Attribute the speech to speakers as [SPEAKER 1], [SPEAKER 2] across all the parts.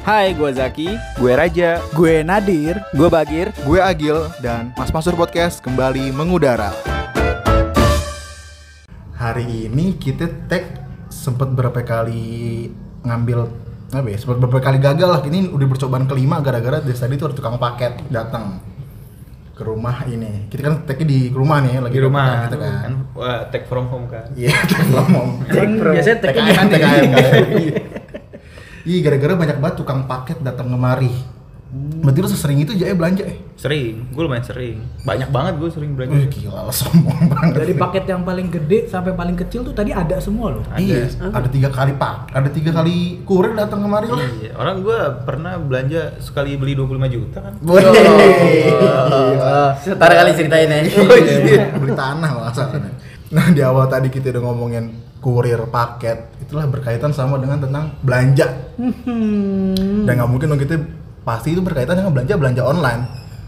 [SPEAKER 1] Hai, gue Zaki.
[SPEAKER 2] Gue Raja,
[SPEAKER 3] Gue Nadir.
[SPEAKER 1] Gue Bagir.
[SPEAKER 4] Gue Agil dan Mas Masur Podcast kembali mengudara. Hari ini kita tag sempat berapa kali ngambil apa ya, sempat berapa kali gagal lah. Ini udah percobaan kelima gara-gara dari tadi tuh ada tukang paket datang ke rumah ini. Kita kan tagnya di rumah nih, lagi
[SPEAKER 2] di rumah
[SPEAKER 4] gitu kan.
[SPEAKER 2] kan wah, take from home kan.
[SPEAKER 4] Iya, tag ngomong.
[SPEAKER 3] Kan biasanya
[SPEAKER 4] TKM kan TKM. Iya, gara-gara banyak banget tukang paket datang kemari. Berarti lu sesering itu aja belanja eh?
[SPEAKER 2] Sering, gue lumayan sering. Banyak banget gue sering
[SPEAKER 4] Wih
[SPEAKER 2] belanja.
[SPEAKER 4] gila lo sombong banget.
[SPEAKER 3] Dari
[SPEAKER 4] sih.
[SPEAKER 3] paket yang paling gede sampai paling kecil tuh tadi ada semua loh.
[SPEAKER 2] Ada.
[SPEAKER 4] Iya, ada tiga kali pak, ada tiga kali kurir datang kemari lah.
[SPEAKER 2] Iya, orang gue pernah belanja sekali beli 25 juta kan.
[SPEAKER 4] Woi,
[SPEAKER 5] Setara Iya. kali ceritain ya.
[SPEAKER 4] Oh, iya, beli tanah masalahnya. Nah di awal tadi kita udah ngomongin kurir paket, itulah berkaitan sama dengan tentang belanja. Dan nggak mungkin lo kita pasti itu berkaitan dengan belanja belanja online.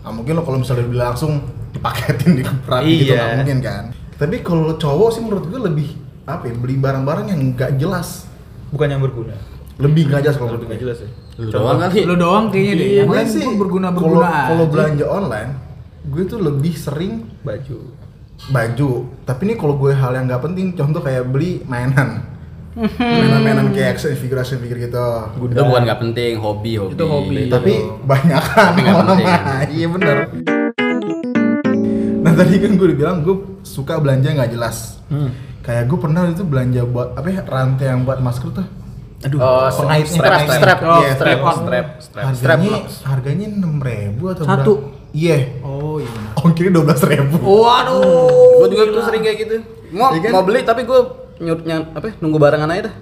[SPEAKER 4] Nggak mungkin lo kalau misalnya beli langsung dipaketin di keperak gitu
[SPEAKER 2] Iya.
[SPEAKER 4] nggak mungkin kan. Tapi kalau cowok sih menurut gue lebih apa ya, beli barang-barang yang nggak jelas
[SPEAKER 2] Bukan yang berguna.
[SPEAKER 4] lebih nggak jelas kalau gitu.
[SPEAKER 2] Kalau
[SPEAKER 4] menurut gue
[SPEAKER 2] nggak jelas ya.
[SPEAKER 5] Lu doang kali.
[SPEAKER 3] Lo doang kayaknya deh.
[SPEAKER 6] Iya,
[SPEAKER 3] Yang
[SPEAKER 4] Gue
[SPEAKER 6] kan?
[SPEAKER 3] lain
[SPEAKER 4] Iya sih
[SPEAKER 3] tuh berguna
[SPEAKER 4] kalau-
[SPEAKER 3] berguna.
[SPEAKER 4] Kalau belanja online, gue tuh lebih sering
[SPEAKER 2] Baju.
[SPEAKER 4] baju. Tapi ini kalau gue hal yang nggak penting, contoh kayak beli mainan, mainan-mainan kayak action figure, action figure gitu.
[SPEAKER 5] Itu bukan nggak penting, hobi, hobi.
[SPEAKER 3] Itu hobi.
[SPEAKER 5] Beda.
[SPEAKER 4] Tapi banyak kan
[SPEAKER 5] Iya, nggak penting.
[SPEAKER 4] lama-lama. Iya bener. Nah tadi kan gue udah bilang gue suka belanja nggak jelas. Kayak gue pernah itu belanja buat apa ya rantai yang buat masker tuh.
[SPEAKER 2] Aduh.
[SPEAKER 5] Oh,
[SPEAKER 4] Pengaitnya,
[SPEAKER 5] strap,
[SPEAKER 4] pengaitnya.
[SPEAKER 5] strap,
[SPEAKER 4] Oh,
[SPEAKER 5] Iya,
[SPEAKER 4] strap
[SPEAKER 5] strap,
[SPEAKER 4] on.
[SPEAKER 5] strap, strap, strap,
[SPEAKER 4] harganya harganya enam ribu atau berapa?
[SPEAKER 3] Satu.
[SPEAKER 4] Iya.
[SPEAKER 3] Oh iya.
[SPEAKER 4] Ongkirnya dua belas ribu.
[SPEAKER 5] Waduh. Gue juga tuh sering kayak gitu. Mau mau beli tapi gue nyurutnya apa? ya, Nunggu barangan aja dah.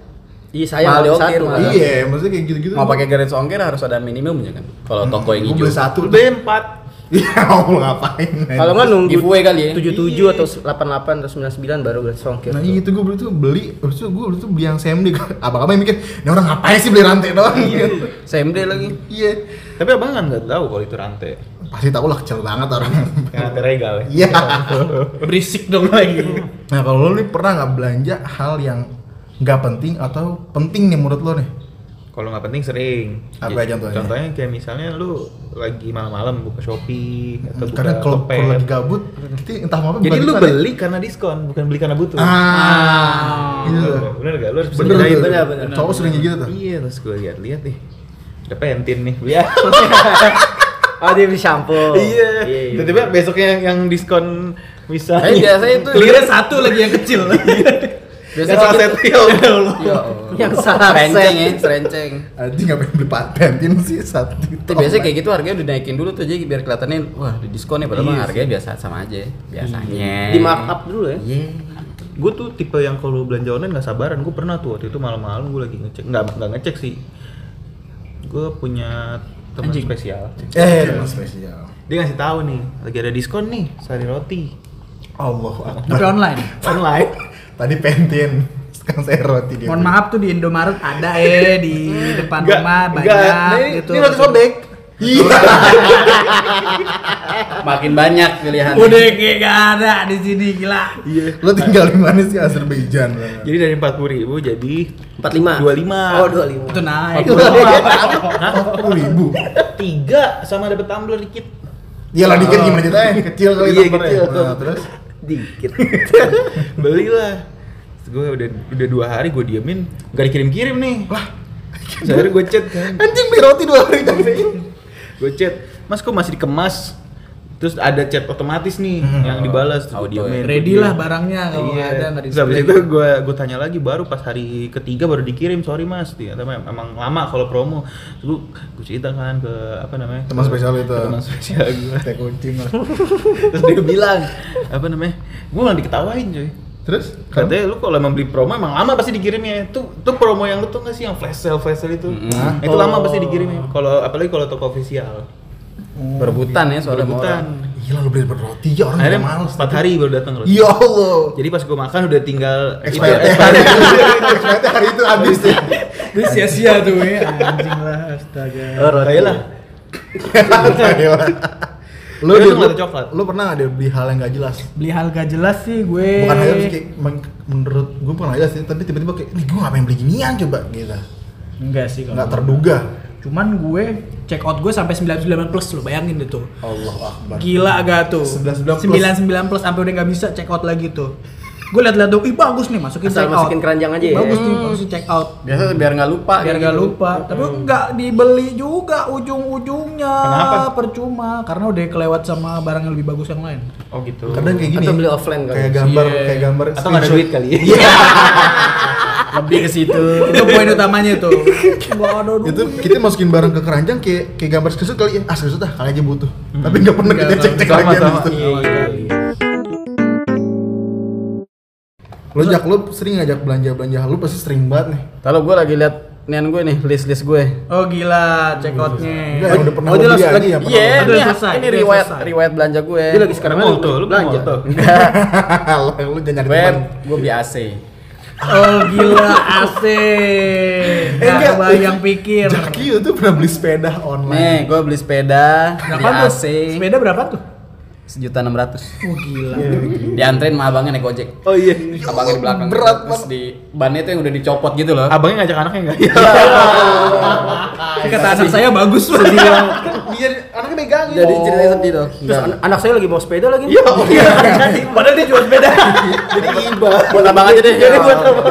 [SPEAKER 5] Iya saya
[SPEAKER 3] Mahal
[SPEAKER 5] mahal
[SPEAKER 3] diokir,
[SPEAKER 5] diokir.
[SPEAKER 3] mahal.
[SPEAKER 5] mahal.
[SPEAKER 4] Iya, maksudnya kayak gitu-gitu.
[SPEAKER 5] Mau pakai garis ongkir harus ada minimumnya kan. Kalau toko yang
[SPEAKER 4] Gua
[SPEAKER 5] hijau.
[SPEAKER 4] beli satu.
[SPEAKER 2] Beli 4.
[SPEAKER 4] Iya, mau ngapain? men?
[SPEAKER 5] Kalau nggak nunggu
[SPEAKER 6] giveaway kali ya?
[SPEAKER 5] 77 atau 88 atau 99 baru gratis ongkir.
[SPEAKER 4] Nah, iya itu gue beli tuh beli, terus tuh gue beli tuh beli yang CMD. Abang-abang yang mikir, ini orang ngapain sih beli rantai doang? Iya.
[SPEAKER 5] CMD lagi.
[SPEAKER 4] Iya.
[SPEAKER 2] Tapi abang kan nggak tahu kalau itu rantai.
[SPEAKER 4] Pasti tau lah kecil banget orang.
[SPEAKER 2] Yang rantai regal ya.
[SPEAKER 4] Iya.
[SPEAKER 3] Berisik dong lagi.
[SPEAKER 4] Nah, kalau lo nih pernah nggak belanja hal yang nggak penting atau penting nih menurut lo nih?
[SPEAKER 2] Kalau nggak penting sering. Iya.
[SPEAKER 4] Apa aja contohnya?
[SPEAKER 2] Contohnya kayak misalnya lu lagi malam-malam buka Shopee atau buka
[SPEAKER 4] Kadang Hmm, kalau
[SPEAKER 2] Tokped.
[SPEAKER 4] kalau lagi gabut, kita entah mau apa.
[SPEAKER 2] Jadi
[SPEAKER 4] bukan kita,
[SPEAKER 2] lu
[SPEAKER 4] nih.
[SPEAKER 2] beli karena diskon, bukan beli karena butuh.
[SPEAKER 4] Ah. Gitu.
[SPEAKER 2] Bener, Bener gak? Lu harus
[SPEAKER 4] Ah. Bener,
[SPEAKER 2] bedain.
[SPEAKER 4] bener, bener. Cowok sering gitu tuh.
[SPEAKER 2] Iya, terus gue lihat-lihat nih. Ada pentin nih. Iya.
[SPEAKER 5] Oh dia beli shampoo.
[SPEAKER 2] Iya. Nah, iya, Tiba-tiba besoknya yang diskon misalnya.
[SPEAKER 5] Eh, biasanya itu-
[SPEAKER 2] Clearance
[SPEAKER 3] satu lagi yang kecil.
[SPEAKER 2] Iya. biasanya salah setio.
[SPEAKER 5] Ya Allah. Yang serenceng ya, serenceng.
[SPEAKER 4] Anjing nggak pengen beli patentin sih satu.
[SPEAKER 5] Tapi biasanya kayak gitu harganya udah naikin dulu tuh jadi biar kelihatannya wah di diskon ya padahal mah harganya biasa sama aja biasanya.
[SPEAKER 6] Di markup dulu ya.
[SPEAKER 5] Iya.
[SPEAKER 2] Gue tuh tipe yang kalau belanja online nggak sabaran. Gue pernah tuh waktu itu malam-malam gue lagi ngecek. Nggak nggak ngecek sih. Gue punya teman spesial.
[SPEAKER 4] Eh, teman spesial.
[SPEAKER 2] Dia ngasih tahu nih, lagi ada diskon nih, sari roti
[SPEAKER 4] Allah
[SPEAKER 3] Tapi online.
[SPEAKER 2] online.
[SPEAKER 4] Tadi pentin, sekarang saya roti dia.
[SPEAKER 3] Mohon maaf tuh di Indomaret ada eh di depan
[SPEAKER 2] Nggak,
[SPEAKER 3] rumah banyak
[SPEAKER 2] nggak. Ini-
[SPEAKER 3] gitu.
[SPEAKER 2] Ini roti sobek.
[SPEAKER 4] Iya.
[SPEAKER 5] Makin banyak pilihan.
[SPEAKER 3] Udah kayak gak ada di sini gila.
[SPEAKER 2] Iya.
[SPEAKER 4] Lo tinggal di mana sih Azerbaijan?
[SPEAKER 2] Jadi dari 40 ribu jadi
[SPEAKER 6] 45.
[SPEAKER 2] 25.
[SPEAKER 6] Oh, 25.
[SPEAKER 3] Itu naik.
[SPEAKER 4] Empat puluh ribu.
[SPEAKER 2] Tiga sama dapat tumbler dikit.
[SPEAKER 4] Iyalah Iya dikit gimana ceritanya? Kecil kali
[SPEAKER 2] Iya,
[SPEAKER 4] nomornya.
[SPEAKER 2] kecil.
[SPEAKER 4] Nah, terus
[SPEAKER 6] Dikit.
[SPEAKER 2] Belilah. Gue udah udah dua hari gue diemin, nggak dikirim-kirim nih. Wah. Akhirnya gue chat kan.
[SPEAKER 4] anjing beli roti dua hari tapi
[SPEAKER 2] gue chat mas kok masih dikemas terus ada chat otomatis nih yang dibalas Terus gua
[SPEAKER 5] Audio
[SPEAKER 2] diemin,
[SPEAKER 5] ya.
[SPEAKER 2] gua
[SPEAKER 3] Ready
[SPEAKER 2] diemin.
[SPEAKER 3] lah barangnya
[SPEAKER 6] Oh,
[SPEAKER 3] kalau
[SPEAKER 2] iya.
[SPEAKER 3] ada nggak
[SPEAKER 2] Terus habis itu gue gue tanya lagi baru pas hari ketiga baru dikirim sorry mas dia tapi em- emang lama kalau promo gue gue cerita kan ke apa namanya
[SPEAKER 4] Teman
[SPEAKER 2] ke-
[SPEAKER 4] spesial itu.
[SPEAKER 2] ke teman spesial gue
[SPEAKER 4] Teh Iya, kucing lah.
[SPEAKER 2] terus dia bilang apa namanya gue malah diketawain cuy
[SPEAKER 4] Terus
[SPEAKER 2] Katanya lu kalau emang beli promo emang lama pasti dikirimnya. Itu tuh promo yang lu tuh nggak sih yang flash sale flash sale itu. Nah,
[SPEAKER 5] Mm-mm.
[SPEAKER 2] Itu lama pasti dikirimnya. Kalau apalagi kalau toko official.
[SPEAKER 5] Berebutan ya soalnya sama orang.
[SPEAKER 2] Rebutan.
[SPEAKER 4] gila lo beli roti ya orang
[SPEAKER 2] Akhirnya
[SPEAKER 4] udah males.
[SPEAKER 2] males, 4 hari baru datang loh.
[SPEAKER 4] Ya Allah.
[SPEAKER 2] Jadi pas gue makan udah tinggal itu,
[SPEAKER 4] Expired
[SPEAKER 2] eh,
[SPEAKER 4] hari itu. Expired hari itu habis
[SPEAKER 2] Iya.
[SPEAKER 4] ya.
[SPEAKER 3] Itu sia-sia tuh ya. Anjing lah astaga.
[SPEAKER 2] Oh, roti. lah.
[SPEAKER 4] Lo di
[SPEAKER 2] Iya, Itu nggak ada coklat.
[SPEAKER 4] Lo pernah nggak ada beli hal yang nggak jelas?
[SPEAKER 3] Beli hal gak jelas sih gue.
[SPEAKER 4] bukan aja sih kayak men- menurut gue bukan aja sih tapi tiba-tiba kayak nih gue ngapain beli ginian coba gitu
[SPEAKER 3] Enggak sih kalau.
[SPEAKER 4] nggak terduga
[SPEAKER 1] Cuman gue check out gue sampai 99 plus lo bayangin deh tuh.
[SPEAKER 4] Allah Akbar.
[SPEAKER 1] Gila gak tuh?
[SPEAKER 4] 99 plus.
[SPEAKER 1] 99 plus sampai udah nggak bisa check out lagi tuh. Gue liat-liat dong, ih bagus nih masukin
[SPEAKER 6] Asal
[SPEAKER 1] check
[SPEAKER 6] masukin
[SPEAKER 1] out.
[SPEAKER 6] keranjang aja ya.
[SPEAKER 1] Bagus nih masukin check out.
[SPEAKER 5] Biasa biar nggak lupa.
[SPEAKER 1] Biar
[SPEAKER 5] kayak
[SPEAKER 1] gak
[SPEAKER 5] gitu.
[SPEAKER 1] lupa, tapi nggak dibeli juga ujung-ujungnya.
[SPEAKER 2] Kenapa?
[SPEAKER 1] Percuma, karena udah kelewat sama barang yang lebih bagus yang lain.
[SPEAKER 2] Oh gitu.
[SPEAKER 4] Kadang kayak gini. ya.
[SPEAKER 6] Atau beli offline kali.
[SPEAKER 4] Kayak gambar,
[SPEAKER 1] Iya.
[SPEAKER 4] kayak gambar.
[SPEAKER 6] Atau nggak ada
[SPEAKER 4] screenshot.
[SPEAKER 6] duit kali. ya.
[SPEAKER 5] Lebih ke situ.
[SPEAKER 1] itu poin utamanya tuh. Gak ada duit.
[SPEAKER 4] Itu kita masukin barang ke keranjang kayak kayak gambar screenshot kali ya. Ah, screenshot dah, kali aja butuh. Tapi nggak pernah kita cek-cek lagi
[SPEAKER 2] Sama-sama.
[SPEAKER 4] habis itu. Lo Jak, lo sering ngajak belanja-belanja, lo pasti sering banget nih.
[SPEAKER 5] Kalau gue lagi lihat nian gue nih, list-list gue.
[SPEAKER 1] Oh gila, check outnya.
[SPEAKER 4] Enggak, yang udah pernah
[SPEAKER 5] Oh,
[SPEAKER 4] lo
[SPEAKER 5] dia
[SPEAKER 4] beli
[SPEAKER 5] langsung
[SPEAKER 4] aja
[SPEAKER 5] lagi.
[SPEAKER 4] ya. pernah
[SPEAKER 5] Iya,
[SPEAKER 4] lo
[SPEAKER 1] Udah
[SPEAKER 5] ini,
[SPEAKER 1] selesai,
[SPEAKER 5] ini
[SPEAKER 1] udah
[SPEAKER 5] riwayat
[SPEAKER 1] selesai.
[SPEAKER 5] riwayat belanja gue.
[SPEAKER 6] Dia lagi sekarang
[SPEAKER 2] Mau tuh, lu mau tuh.
[SPEAKER 4] Alah, lu jangan nyari
[SPEAKER 5] Gue
[SPEAKER 4] teman.
[SPEAKER 5] gue beli AC.
[SPEAKER 1] Oh gila, AC.
[SPEAKER 5] Eh,
[SPEAKER 1] Gak bayang pikir.
[SPEAKER 4] Jaki itu pernah beli sepeda
[SPEAKER 5] Nih,
[SPEAKER 4] online.
[SPEAKER 5] gue beli sepeda, beli
[SPEAKER 1] Berapa tuh?
[SPEAKER 5] AC,
[SPEAKER 1] Sepeda berapa tuh?
[SPEAKER 5] sejuta enam ratus.
[SPEAKER 1] Oh gila.
[SPEAKER 5] Diantrin sama abangnya naik gojek.
[SPEAKER 6] Oh iya.
[SPEAKER 5] Abangnya di belakang.
[SPEAKER 4] Berat
[SPEAKER 5] terus di bannya tuh yang udah dicopot gitu loh.
[SPEAKER 2] Abangnya ngajak anaknya enggak? Iya.
[SPEAKER 1] Kata anak saya bagus loh.
[SPEAKER 4] Dia anaknya megangin.
[SPEAKER 5] Jadi ceritanya sedih dong.
[SPEAKER 6] Terus an- anak saya lagi bawa sepeda lagi.
[SPEAKER 2] Iya, oh iya.
[SPEAKER 5] Kan
[SPEAKER 6] Padahal dia jual sepeda.
[SPEAKER 4] Jadi iba.
[SPEAKER 5] buat abang aja deh.
[SPEAKER 6] Jadi buat apa?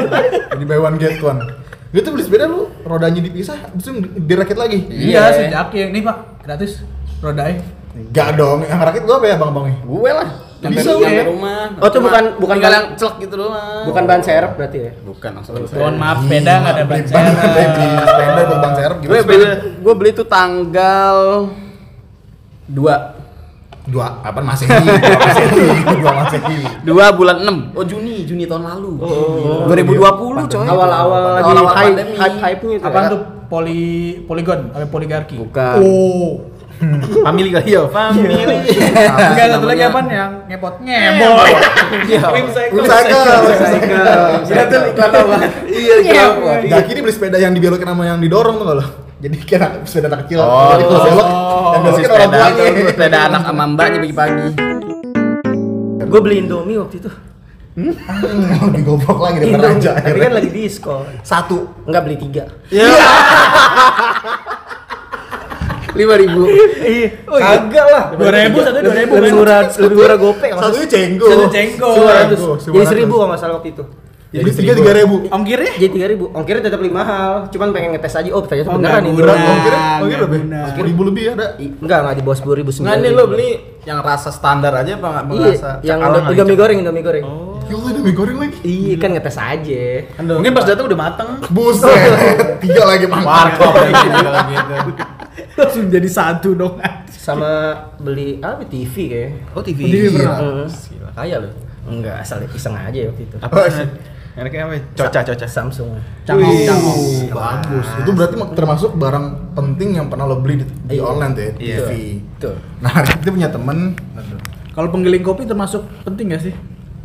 [SPEAKER 4] Jadi buy one get one. Dia tuh beli sepeda lu rodanya dipisah, terus dirakit lagi.
[SPEAKER 1] Iya, sejak ya. Nih Pak, gratis. Rodanya.
[SPEAKER 5] Iya.
[SPEAKER 4] Enggak dong, yang rakit gua apa ya bang bangnya?
[SPEAKER 5] Gue lah. Nyampe,
[SPEAKER 4] Bisa,
[SPEAKER 5] nyampe
[SPEAKER 4] ya?
[SPEAKER 5] rumah.
[SPEAKER 6] Oh, tuh
[SPEAKER 5] Cuma
[SPEAKER 6] bukan- bukan
[SPEAKER 5] tinggal
[SPEAKER 6] ban-
[SPEAKER 5] yang celak gitu doang.
[SPEAKER 6] Bukan ban serep berarti ya.
[SPEAKER 5] Bukan langsung ke
[SPEAKER 1] Mohon
[SPEAKER 5] saya.
[SPEAKER 1] maaf, sepeda nggak ada ban
[SPEAKER 4] Bang ada di sepeda buat bang serep
[SPEAKER 5] Gue
[SPEAKER 4] gimana?
[SPEAKER 5] beli, gue beli tuh tanggal 2
[SPEAKER 4] Dua apa masehi? Dua masehi, dua masehi.
[SPEAKER 5] 2 bulan 6. Oh Juni, Juni tahun lalu.
[SPEAKER 4] Oh.
[SPEAKER 5] 2020 coy.
[SPEAKER 6] Awal-awal lagi
[SPEAKER 5] Awal-awal
[SPEAKER 6] hype
[SPEAKER 5] pandemi.
[SPEAKER 6] hype hype-nya itu.
[SPEAKER 1] Apaan tuh? Poli poligon, apa poligarki?
[SPEAKER 5] Bukan.
[SPEAKER 1] Oh.
[SPEAKER 2] Family kali
[SPEAKER 1] Iya.
[SPEAKER 2] ya, family.
[SPEAKER 1] Enggak
[SPEAKER 5] Apa
[SPEAKER 1] satu lagi
[SPEAKER 5] namanya?
[SPEAKER 1] apaan yang ngepot ngepot.
[SPEAKER 4] Belum cycle.
[SPEAKER 5] Iya tuh iklan apa? Iya, iklan apa?
[SPEAKER 4] Jaki ini beli sepeda yang dibelokin sama yang didorong tuh loh. Jadi kayak sepeda anak kecil.
[SPEAKER 5] Oh,
[SPEAKER 4] Jadi kalau
[SPEAKER 5] oh.
[SPEAKER 4] belok, yang belokin
[SPEAKER 5] Beli
[SPEAKER 4] orang
[SPEAKER 5] sepeda, gitu.
[SPEAKER 4] tuanya.
[SPEAKER 5] sepeda anak sama mbaknya pagi-pagi.
[SPEAKER 6] Gue beli Indomie waktu itu.
[SPEAKER 4] Hmm, Lebih goblok lagi dari
[SPEAKER 6] Indomie.
[SPEAKER 4] raja.
[SPEAKER 6] Tapi kan lagi diskon.
[SPEAKER 4] Satu.
[SPEAKER 6] Enggak beli tiga.
[SPEAKER 5] 5000.
[SPEAKER 6] Iya. Kagak lah.
[SPEAKER 1] 2000 satu 2000.
[SPEAKER 3] kan?
[SPEAKER 6] Lebih murah, lebih murah gopek maksudnya.
[SPEAKER 4] Satunya cenggo.
[SPEAKER 1] Satu Iya, cenggo.
[SPEAKER 4] Iya,
[SPEAKER 6] 200.
[SPEAKER 4] Seribu,
[SPEAKER 6] Jadi seribu kalau nggak salah waktu itu.
[SPEAKER 4] Beli tiga tiga ribu.
[SPEAKER 1] Ongkirnya?
[SPEAKER 6] Jadi tiga ribu. Ongkirnya tetap lebih mahal. Cuman pengen ngetes aja. Oh ternyata
[SPEAKER 1] Oh,
[SPEAKER 6] beneran
[SPEAKER 1] nggak
[SPEAKER 6] ini.
[SPEAKER 1] murah.
[SPEAKER 4] Berat ongkirnya, ongkir
[SPEAKER 1] nggak
[SPEAKER 4] berapa?
[SPEAKER 1] guna.
[SPEAKER 4] Sepuluh ribu lebih ada.
[SPEAKER 6] I- Enggak, enggak di bawah sepuluh ribu
[SPEAKER 5] Enggak nih Nah, lo beli yang rasa standar aja apa enggak
[SPEAKER 6] Iya, yang
[SPEAKER 2] cakalang
[SPEAKER 6] udah
[SPEAKER 2] kali,
[SPEAKER 6] Indomie goreng, Indomie goreng.
[SPEAKER 4] Ya Allah, ada mie goreng lagi.
[SPEAKER 6] Iya kan ngetes aja.
[SPEAKER 2] Mungkin pas datang udah mateng.
[SPEAKER 4] Buset, tiga lagi mangkok.
[SPEAKER 5] Warkop gitu gitu.
[SPEAKER 1] Langsung jadi satu dong.
[SPEAKER 6] Sama beli apa TV kayaknya.
[SPEAKER 2] Oh, TV.
[SPEAKER 6] Iya. Heeh.
[SPEAKER 5] Gila, Kaya lo.
[SPEAKER 6] Enggak, asal iseng aja ya waktu itu.
[SPEAKER 1] Oh,
[SPEAKER 2] Apa? Enaknya apa? Coca, coca.
[SPEAKER 6] Samsung.
[SPEAKER 1] Cangkok,
[SPEAKER 4] Wih,
[SPEAKER 1] cangkok.
[SPEAKER 4] Bagus. Itu berarti mak- termasuk barang penting yang pernah lo beli di, di
[SPEAKER 6] Iya.
[SPEAKER 4] online tuh ya,
[SPEAKER 2] Iya.
[SPEAKER 4] TV.
[SPEAKER 6] Betul.
[SPEAKER 4] Nah, itu punya temen.
[SPEAKER 1] Kalau penggiling kopi termasuk penting gak sih?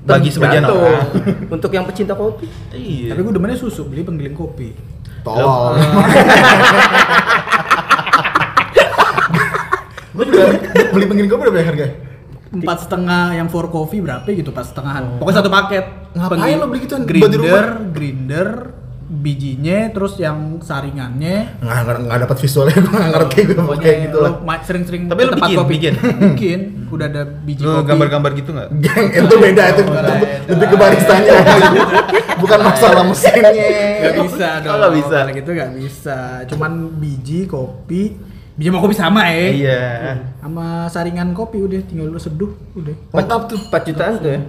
[SPEAKER 2] Bagi sebagian
[SPEAKER 6] Tergantung.
[SPEAKER 2] orang.
[SPEAKER 6] Untuk yang pecinta kopi.
[SPEAKER 2] Iya.
[SPEAKER 1] Tapi gue demennya susu, beli penggiling kopi.
[SPEAKER 4] Tolol. Lo beli, beli pengiring kopi berapa ya harganya?
[SPEAKER 1] Empat setengah yang for coffee berapa gitu pas setengahan. Pokoknya satu paket.
[SPEAKER 4] Ngapain
[SPEAKER 1] Penggiling-
[SPEAKER 4] lo beli gituan? Buat di
[SPEAKER 1] Grinder,
[SPEAKER 4] rumah?
[SPEAKER 1] grinder, bijinya, terus yang saringannya.
[SPEAKER 4] Nggak, nggak, nggak dapat visualnya, gue nggak ngerti gue
[SPEAKER 1] Pokoknya
[SPEAKER 4] pakai gitu lah.
[SPEAKER 1] lo ma- sering-sering
[SPEAKER 2] Tapi
[SPEAKER 1] ke
[SPEAKER 2] lo
[SPEAKER 1] tempat
[SPEAKER 2] bikin, bikin.
[SPEAKER 1] Bikin, udah ada biji
[SPEAKER 2] Lu
[SPEAKER 1] kopi.
[SPEAKER 2] gambar-gambar gitu enggak?
[SPEAKER 4] Geng, itu beda, itu itu lebih ke baristanya. Bukan masalah mesinnya.
[SPEAKER 1] Gak bisa dong.
[SPEAKER 2] Oh, nggak bisa.
[SPEAKER 1] Kalau gitu gak bisa. Cuman biji kopi, biji sama kopi sama ya.
[SPEAKER 2] Iya.
[SPEAKER 1] Sama saringan kopi udah tinggal lu seduh udah.
[SPEAKER 6] Lengkap tuh 4 jutaan tuh ya.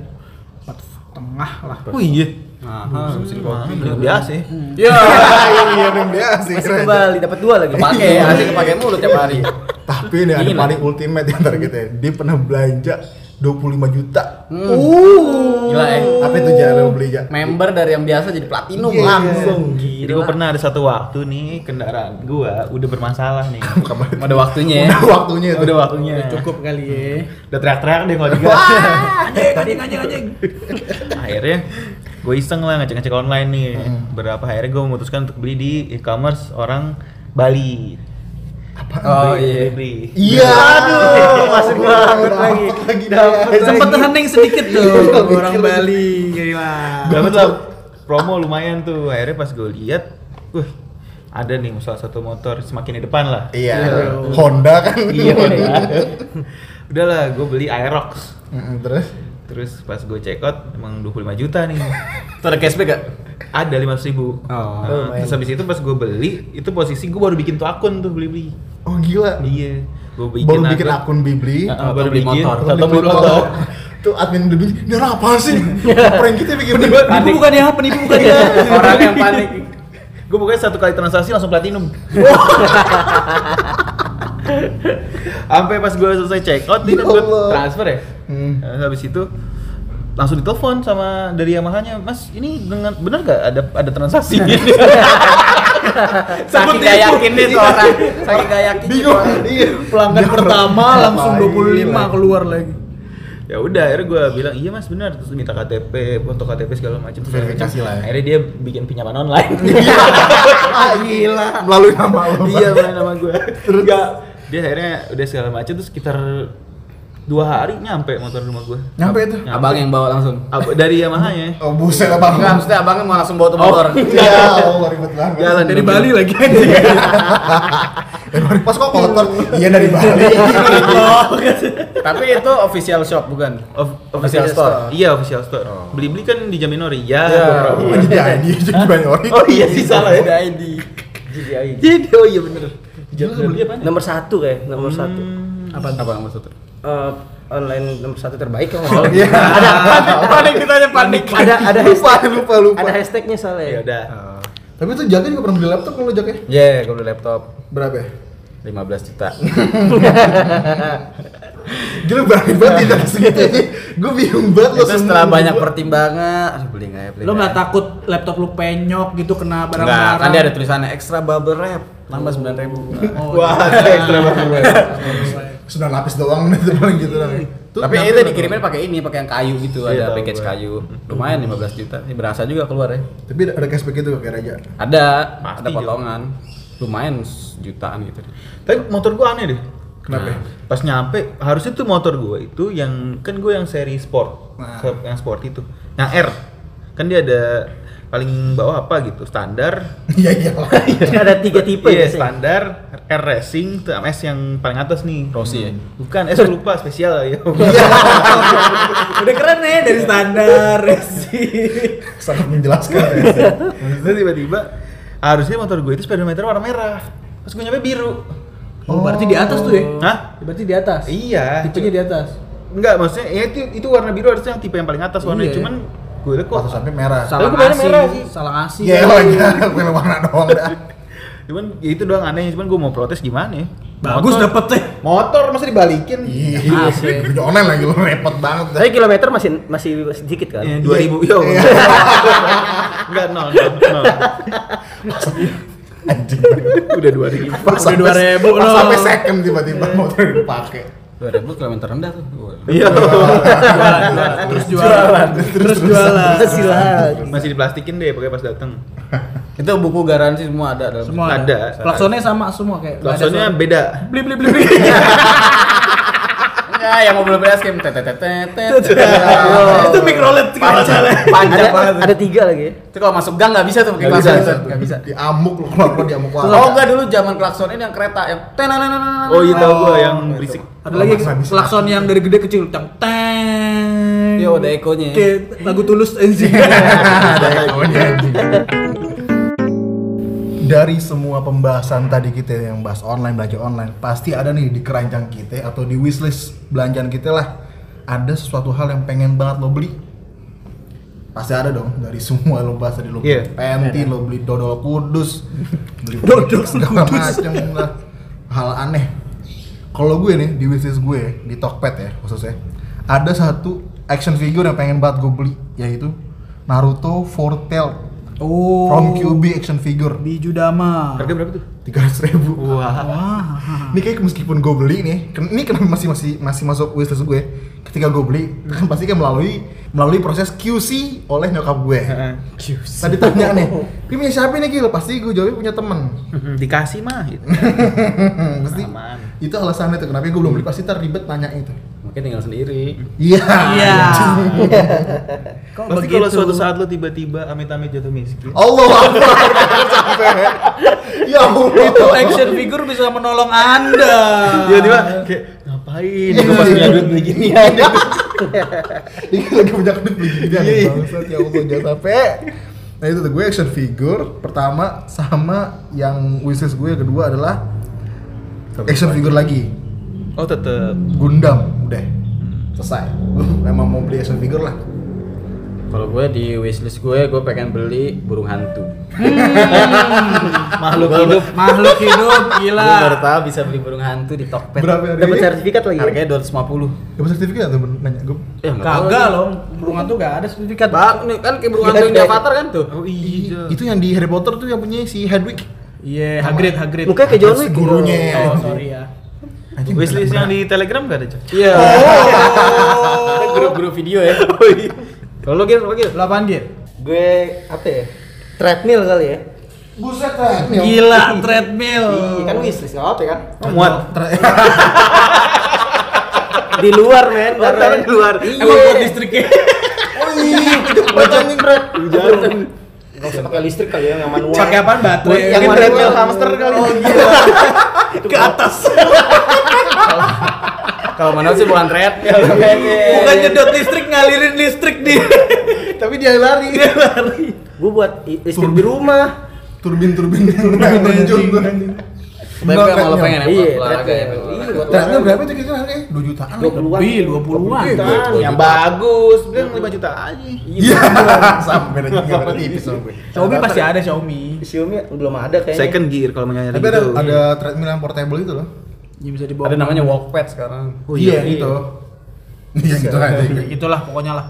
[SPEAKER 1] Empat setengah lah.
[SPEAKER 2] Oh iya.
[SPEAKER 5] Nah,
[SPEAKER 2] Mesin kopi. Biasa ya.
[SPEAKER 1] Hmm.
[SPEAKER 5] Iya.
[SPEAKER 4] Iya, yang biasa.
[SPEAKER 6] Masih
[SPEAKER 4] keren.
[SPEAKER 6] kembali dapat dua lagi.
[SPEAKER 5] Kepake, asli kepake mulu tiap hari.
[SPEAKER 4] Tapi ini ada
[SPEAKER 5] Dingin,
[SPEAKER 4] paling ultimate yang targetnya Dia pernah belanja 25 juta.
[SPEAKER 5] Gila ya.
[SPEAKER 4] Apa itu jalan yang beli Jak?
[SPEAKER 5] Member dari yang biasa jadi platinum
[SPEAKER 4] Iya.
[SPEAKER 5] langsung.
[SPEAKER 2] Jadi gue pernah ada satu waktu nih kendaraan gua udah bermasalah nih.
[SPEAKER 4] Bukan berarti.
[SPEAKER 5] Udah waktunya ya.
[SPEAKER 4] Udah waktunya itu.
[SPEAKER 2] udah waktunya.
[SPEAKER 4] Eh.
[SPEAKER 1] Iya, Udah cukup kali ya.
[SPEAKER 2] Udah teriak-teriak deh kalau digas.
[SPEAKER 6] Ah,
[SPEAKER 1] Anjing anjing anjing anjing.
[SPEAKER 2] akhirnya gue iseng lah ngecek-ngecek online nih
[SPEAKER 4] Hmm.
[SPEAKER 2] berapa akhirnya gue memutuskan untuk beli di e-commerce orang Bali
[SPEAKER 5] Oh
[SPEAKER 2] Beli-
[SPEAKER 5] iya.
[SPEAKER 2] beli
[SPEAKER 4] Iya. Aduh,
[SPEAKER 6] masuk banget lagi.
[SPEAKER 4] Lagi dapat.
[SPEAKER 1] Sempet terhening sedikit tuh orang Bali. Gila.
[SPEAKER 2] dapat lah promo lumayan tuh akhirnya pas gue lihat wah ada nih salah satu motor semakin di depan lah
[SPEAKER 4] Iya. Honda kan.
[SPEAKER 2] iya udah. udahlah gue beli Aerox
[SPEAKER 4] Mm, Terus
[SPEAKER 2] terus pas gue check out emang 25 juta nih
[SPEAKER 5] Itu ada cashback gak?
[SPEAKER 2] ada 500
[SPEAKER 4] Oh,
[SPEAKER 2] ribu nah, terus habis itu pas gue beli itu posisi gue baru bikin tuh akun tuh beli beli
[SPEAKER 4] oh gila.
[SPEAKER 2] iya gue bikin
[SPEAKER 4] Baru
[SPEAKER 2] Nah,
[SPEAKER 4] bikin akun Bibli.
[SPEAKER 2] Heeh,
[SPEAKER 5] Atau beli motor.
[SPEAKER 4] Terus
[SPEAKER 2] atau
[SPEAKER 4] beli
[SPEAKER 2] beli motor
[SPEAKER 4] motor. Tuh admin udah bilang, "Dia apa sih? Prank kita bikin
[SPEAKER 1] Penipu bukan ya, penipu bukan ya.
[SPEAKER 5] Orang yang panik.
[SPEAKER 2] gue pokoknya satu kali transaksi langsung platinum sampai pas gue selesai check out dia
[SPEAKER 4] Ya
[SPEAKER 2] kan gua
[SPEAKER 4] Allah.
[SPEAKER 2] transfer ya
[SPEAKER 4] Hmm.
[SPEAKER 2] Nah, habis itu langsung ditelepon sama dari Yamaha-nya, Mas, ini dengan benar gak ada ada transaksi?
[SPEAKER 5] Saking gak yakin nih tuh orang. Saking gak yakin.
[SPEAKER 4] Bingung. Iya.
[SPEAKER 1] Pelanggan
[SPEAKER 4] Dia
[SPEAKER 1] pertama
[SPEAKER 4] ngapain? Iya.
[SPEAKER 1] langsung 25 keluar lagi.
[SPEAKER 2] ya udah, akhirnya gue bilang iya Mas benar, terus minta KTP, foto KTP segala macam.
[SPEAKER 4] Verifikasi lah ya.
[SPEAKER 2] Akhirnya dia bikin pinjaman online.
[SPEAKER 5] Iya.
[SPEAKER 4] Ah, gila. Melalui nama lo.
[SPEAKER 2] iya, bener nama gue.
[SPEAKER 4] Terus?
[SPEAKER 2] Nggak. dia akhirnya udah segala macam terus sekitar dua hari nyampe motor rumah gue.
[SPEAKER 4] Nyampe itu.
[SPEAKER 5] Abang yang bawa langsung.
[SPEAKER 2] dari Yamaha ya.
[SPEAKER 4] Oh, buset abang.
[SPEAKER 5] Enggak, maksudnya abangnya mau langsung bawa tuh motor.
[SPEAKER 4] Ya Allah ribet banget.
[SPEAKER 5] Iya.
[SPEAKER 2] Jalan
[SPEAKER 1] Dari Bali lagi anjing.
[SPEAKER 4] Dari Eh, pas kok kotor. Iya dari Bali.
[SPEAKER 5] Tapi Oh, itu official shop bukan?
[SPEAKER 2] Of-
[SPEAKER 5] Official store. Oh.
[SPEAKER 2] Iya, official store. Beli-beli kan dijamin ori. Ya,
[SPEAKER 5] Ya.
[SPEAKER 2] beberapa.
[SPEAKER 4] Oh, Jadi ID jadi banyak orang.
[SPEAKER 2] Oh iya sih salah ya.
[SPEAKER 5] Ada ID.
[SPEAKER 6] GDI.
[SPEAKER 2] Jadi oh iya bener.
[SPEAKER 4] Gila, beli
[SPEAKER 2] apa?
[SPEAKER 6] Nomor satu kayak nomor satu.
[SPEAKER 5] Hmm. Apa? Apa yang maksudnya?
[SPEAKER 6] Eh, online nomor satu terbaik kalau nggak salah.
[SPEAKER 4] Iya.
[SPEAKER 6] ada
[SPEAKER 5] Panik kita hanya panik. Oh.
[SPEAKER 6] ada ada hashtag
[SPEAKER 4] lupa lupa.
[SPEAKER 6] ada hashtagnya soalnya
[SPEAKER 2] Ya udah.
[SPEAKER 4] Tapi itu Jaka juga pernah beli laptop kalau Jaka ya?
[SPEAKER 5] Ya, gue beli laptop
[SPEAKER 4] Berapa ya?
[SPEAKER 5] 15 juta.
[SPEAKER 4] Gila ya, berani banget tidak segitu aja. Gue bingung banget lo
[SPEAKER 5] Itu setelah banyak pertimbangan, aduh beli nggak ya? Beli
[SPEAKER 1] Lo
[SPEAKER 5] nggak
[SPEAKER 1] nggak
[SPEAKER 5] ya?
[SPEAKER 1] takut laptop lu penyok gitu
[SPEAKER 5] Nggak,
[SPEAKER 1] kena barang-barang?
[SPEAKER 5] kan dia ada tulisannya extra bubble wrap tambah sembilan ribu.
[SPEAKER 1] Wah, ekstra
[SPEAKER 4] ya. Sudah lapis doang nih itu paling gitu lah.
[SPEAKER 5] Tapi itu dikirimin pakai ini, pakai yang kayu gitu,
[SPEAKER 2] Iya,
[SPEAKER 5] ada
[SPEAKER 2] tahu
[SPEAKER 5] package
[SPEAKER 2] gue.
[SPEAKER 5] kayu. Lumayan 15 juta, ini berasa juga keluar ya.
[SPEAKER 4] Tapi ada cashback itu kayak Raja.
[SPEAKER 5] Ada,
[SPEAKER 2] Pasti
[SPEAKER 5] ada
[SPEAKER 2] juga.
[SPEAKER 5] potongan. Lumayan jutaan gitu.
[SPEAKER 2] Tapi motor gua aneh deh.
[SPEAKER 4] Kenapa? ya?
[SPEAKER 2] Pas nyampe harusnya tuh motor gua itu yang kan gua yang seri sport.
[SPEAKER 4] Nah.
[SPEAKER 2] Ke- Yang sport itu. Yang R. Kan dia ada paling bawah apa gitu, standar.
[SPEAKER 4] Iya iya. lah.
[SPEAKER 6] ada tiga tipe biasanya.
[SPEAKER 2] iya, standar, R racing, tuh MS yang paling atas nih.
[SPEAKER 5] Rosi ya.
[SPEAKER 2] Bukan, eh gua lupa spesial ya.
[SPEAKER 1] Udah keren nih dari standar sih.
[SPEAKER 4] Sangat menjelaskan. ya.
[SPEAKER 2] Terus tiba-tiba harusnya motor gua itu speedometer warna merah. Pas gua nyampe biru.
[SPEAKER 1] Oh, berarti di atas tuh ya?
[SPEAKER 2] Hah?
[SPEAKER 1] Berarti di atas.
[SPEAKER 2] Iya.
[SPEAKER 1] Tipenya di atas.
[SPEAKER 2] Enggak, maksudnya ya itu itu warna biru harusnya yang tipe yang paling atas warnanya.
[SPEAKER 1] Iya.
[SPEAKER 2] Cuman gue liat kok
[SPEAKER 4] Waktu sampai merah.
[SPEAKER 1] Salah
[SPEAKER 2] kemarin
[SPEAKER 1] asi,
[SPEAKER 2] merah sih.
[SPEAKER 1] salah asi.
[SPEAKER 4] Iya lah ya. Pilih warna doang dah.
[SPEAKER 2] cuman ya itu doang anehnya cuman gue mau protes gimana ya?
[SPEAKER 1] Bagus
[SPEAKER 2] Motor-
[SPEAKER 1] dapet sih.
[SPEAKER 2] Motor masa dibalikin.
[SPEAKER 4] Iya. Beli online lagi lo repot banget dah.
[SPEAKER 1] Eh.
[SPEAKER 6] tapi kilometer masih masih sedikit kan
[SPEAKER 2] Ya, 2000 yo.
[SPEAKER 4] Iya.
[SPEAKER 2] Enggak nol nol nol.
[SPEAKER 4] Anjing.
[SPEAKER 2] Udah 2000.
[SPEAKER 4] Pas sampai-
[SPEAKER 1] dua ribu Iya.
[SPEAKER 4] pas
[SPEAKER 1] lo.
[SPEAKER 4] sampai second tiba-tiba motor dipakai.
[SPEAKER 5] 2000 kilometer rendah tuh. Wah.
[SPEAKER 2] Iya.
[SPEAKER 1] Terus jualan. Terus jualan.
[SPEAKER 6] Silahan.
[SPEAKER 2] Masih diplastikin deh pakai pas datang.
[SPEAKER 5] Itu buku garansi semua ada dalam.
[SPEAKER 1] Semua
[SPEAKER 2] Ada.
[SPEAKER 1] ada. Klaksonnya sama semua kayak. nggak ada
[SPEAKER 2] Klaksonnya
[SPEAKER 1] suara.
[SPEAKER 2] beda.
[SPEAKER 1] beli beli beli. beli.
[SPEAKER 5] Enggak, Ya, yang mau beli es krim tetet tetet tetet.
[SPEAKER 1] Itu microlet
[SPEAKER 4] kan?
[SPEAKER 1] kalau nggak salah.
[SPEAKER 5] Panjang
[SPEAKER 6] ada
[SPEAKER 5] banget.
[SPEAKER 6] ada tiga lagi ya.
[SPEAKER 5] Itu kalau masuk gang nggak bisa tuh pakai
[SPEAKER 2] Nggak
[SPEAKER 5] klakson
[SPEAKER 2] bisa.
[SPEAKER 5] itu. Nggak bisa.
[SPEAKER 4] Diamuk lo keluar lo diamuk keluar.
[SPEAKER 5] Oh enggak dulu zaman klakson ini yang kereta yang tenenenenen.
[SPEAKER 2] Oh iya tahu gue yang berisik.
[SPEAKER 1] Ada lagi
[SPEAKER 4] Masa bisa.
[SPEAKER 1] klakson yang dari gede kecil tang tang.
[SPEAKER 5] Iya, udah ekonya.
[SPEAKER 1] Kayak lagu tulus anjing.
[SPEAKER 4] Ada egonya, anjing. Dari semua pembahasan tadi kita yang bahas online belanja online, pasti ada nih di keranjang kita atau di wishlist belanjaan kita lah ada sesuatu hal yang pengen banget lo beli. Pasti ada dong dari semua lo bahas tadi lo beli
[SPEAKER 2] Iya.
[SPEAKER 4] panty, lo beli dodol kudus, beli dodol segala macam lah. Hal aneh. Kalau gue nih di wishlist gue di Tokped ya khususnya ada satu action figure yang pengen banget gue beli yaitu Naruto Four Tailed
[SPEAKER 1] Oh.
[SPEAKER 4] From QB action figure
[SPEAKER 1] Biju Dama.
[SPEAKER 2] Harga berapa tuh?
[SPEAKER 4] tiga ratus ribu.
[SPEAKER 2] Wah.
[SPEAKER 1] Hmm.
[SPEAKER 4] Ini kayak meskipun gue beli nih, ken- ini kenapa masih masih masih masuk wishlist gue. Ketika gue beli, kan pasti kan melalui melalui proses QC oleh nyokap gue. Tadi tanya nih,
[SPEAKER 1] Oh.
[SPEAKER 4] ini punya siapa nih Gil? Pasti gue jawabnya punya temen.
[SPEAKER 2] Dikasih mah gitu.
[SPEAKER 4] Hmm, pasti
[SPEAKER 2] Aman.
[SPEAKER 4] itu alasannya tuh kenapa gue belum beli pasti ntar ribet nanya itu.
[SPEAKER 5] Makanya tinggal sendiri.
[SPEAKER 4] Iya.
[SPEAKER 1] Iya. Kok
[SPEAKER 2] Pasti
[SPEAKER 1] begitu?
[SPEAKER 2] kalau suatu saat lo tiba-tiba amit-amit jatuh miskin.
[SPEAKER 4] Allah Akbar. Sampai. Ya Allah.
[SPEAKER 1] itu Oh, action figure bisa menolong Anda.
[SPEAKER 2] Tiba-tiba kayak ngapain? Gue pas punya duit beli gini.
[SPEAKER 4] Ini lagi punya duit beli gini aneh bangsat ya Allah jangan sampai. Nah itu tuh gue action figure pertama sama yang wishes gue kedua adalah action figure lagi
[SPEAKER 2] Oh tetep.
[SPEAKER 4] Gundam udah selesai. Emang mau beli action figure lah.
[SPEAKER 5] Kalau gue di wishlist gue, gue pengen beli burung hantu.
[SPEAKER 2] Makhluk hidup.
[SPEAKER 1] Makhluk hidup
[SPEAKER 5] Gue baru
[SPEAKER 1] gila.
[SPEAKER 5] tahu bisa beli burung hantu di Tokped.
[SPEAKER 4] Berapa hari
[SPEAKER 6] Dapat
[SPEAKER 4] ini?
[SPEAKER 6] sertifikat lagi. ya?
[SPEAKER 5] Harganya 250.
[SPEAKER 4] Dapat sertifikat atau nanya gue?
[SPEAKER 5] Ya
[SPEAKER 1] Kagak loh, burung hantu gak ada sertifikat.
[SPEAKER 5] Bang, nih kan kayak burung hantu yang di Avatar kan tuh.
[SPEAKER 2] Oh iya.
[SPEAKER 4] Itu yang di Harry Potter tuh yang punya si Hedwig.
[SPEAKER 1] Iya, Hagrid, Hagrid.
[SPEAKER 6] Mukanya kayak John Wick. gitu.
[SPEAKER 4] Gurunya.
[SPEAKER 1] Oh, sorry ya.
[SPEAKER 4] Anjing,
[SPEAKER 2] Wishlist
[SPEAKER 4] berat-berat.
[SPEAKER 2] yang di Telegram gak ada, Cok?
[SPEAKER 5] Iya. Ada Grup-grup video ya.
[SPEAKER 2] Oh iya.
[SPEAKER 5] Kalau lo gil, lo gil.
[SPEAKER 1] 8 gear.
[SPEAKER 6] Gue apa ya? Treadmill kali ya.
[SPEAKER 4] Buset lah.
[SPEAKER 1] Gila, treadmill.
[SPEAKER 6] Iya kan wishlist nggak apa kan?
[SPEAKER 2] Oh, Muat.
[SPEAKER 6] Di luar Iya. men, karena
[SPEAKER 2] di luar.
[SPEAKER 1] Emang buat listriknya.
[SPEAKER 4] Oh iya, kecepatan nih Brad.
[SPEAKER 6] nggak usah pakai listrik kali ya yang manual.
[SPEAKER 1] Pakai apaan baterai?
[SPEAKER 6] Yang
[SPEAKER 1] Mungkin
[SPEAKER 6] treadmill
[SPEAKER 1] buat-
[SPEAKER 6] hamster kali.
[SPEAKER 2] Ke atas.
[SPEAKER 5] Kalau mana sih bukan red.
[SPEAKER 1] Bukan nyedot listrik, ngalirin listrik nih.
[SPEAKER 4] Tapi dia lari.
[SPEAKER 6] Gue buat i- listrik di rumah.
[SPEAKER 4] Turbin turbin turbin muncul tuh.
[SPEAKER 5] Tapi gue malah pengen ya buat
[SPEAKER 6] Iya,
[SPEAKER 5] olahraga ya.
[SPEAKER 6] treadmill.
[SPEAKER 5] buat
[SPEAKER 6] Iya,
[SPEAKER 5] olahraga.
[SPEAKER 6] buat
[SPEAKER 4] Ternyata berapa itu kira-kira harganya? 2 jutaan.
[SPEAKER 6] Ah. Dua puluhan.
[SPEAKER 1] Wih, 20-an.
[SPEAKER 2] Gitu. Yang bagus. Bilang 5 juta aja.
[SPEAKER 4] Iya, sama beda juga berarti tipis sama gue.
[SPEAKER 1] Xiaomi pasti ada Xiaomi.
[SPEAKER 6] Xiaomi belum ada kayaknya.
[SPEAKER 2] Second gear kalau mau gitu. nyari
[SPEAKER 4] Tapi ada ada treadmill yang portable itu loh.
[SPEAKER 1] Ini bisa dibawa.
[SPEAKER 5] Ada namanya walkpad sekarang.
[SPEAKER 2] Oh iya.
[SPEAKER 1] gitu.
[SPEAKER 4] itu. gitu. Iya gitu aja.
[SPEAKER 1] Itulah pokoknya lah.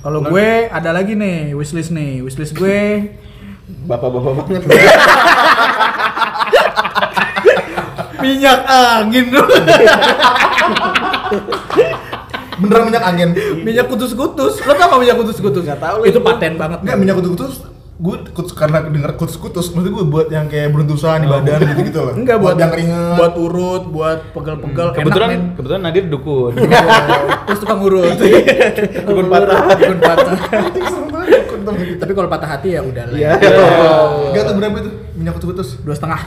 [SPEAKER 1] Kalau gue ada lagi nih wishlist nih. Wishlist gue
[SPEAKER 2] Bapak-bapak banget.
[SPEAKER 1] minyak angin dong.
[SPEAKER 4] Beneran minyak angin.
[SPEAKER 1] minyak kutus-kutus. Lo tau gak minyak kutus-kutus? Gak tau. Itu paten banget.
[SPEAKER 4] Enggak minyak kutus-kutus gue kutus karena denger kutus-kutus maksudnya gue buat yang kayak beruntusan di badan gitu-gitu loh
[SPEAKER 1] Enggak buat, Hmm.
[SPEAKER 4] yang ringan
[SPEAKER 1] Buat urut, buat pegel-pegel.
[SPEAKER 2] Kebetulan
[SPEAKER 1] Enak, men.
[SPEAKER 2] kebetulan Nadir dukun.
[SPEAKER 1] Terus tukang urut.
[SPEAKER 2] Dukun patah.
[SPEAKER 1] Dukun patah.
[SPEAKER 4] Enggak
[SPEAKER 1] Tapi kalau patah hati ya udah lah.
[SPEAKER 2] Iya.
[SPEAKER 4] tuh berapa itu minyak kutus-kutus
[SPEAKER 1] Dua setengah.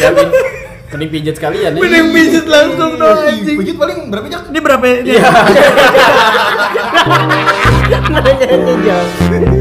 [SPEAKER 5] Jamin. Mending pijat sekalian ya.
[SPEAKER 1] Mending pijet langsung dong
[SPEAKER 4] Ih,
[SPEAKER 1] anjing.
[SPEAKER 4] Iya, Pijit paling berapa jak?
[SPEAKER 1] Ini berapa? Iya.
[SPEAKER 6] Nanya-nanya jauh.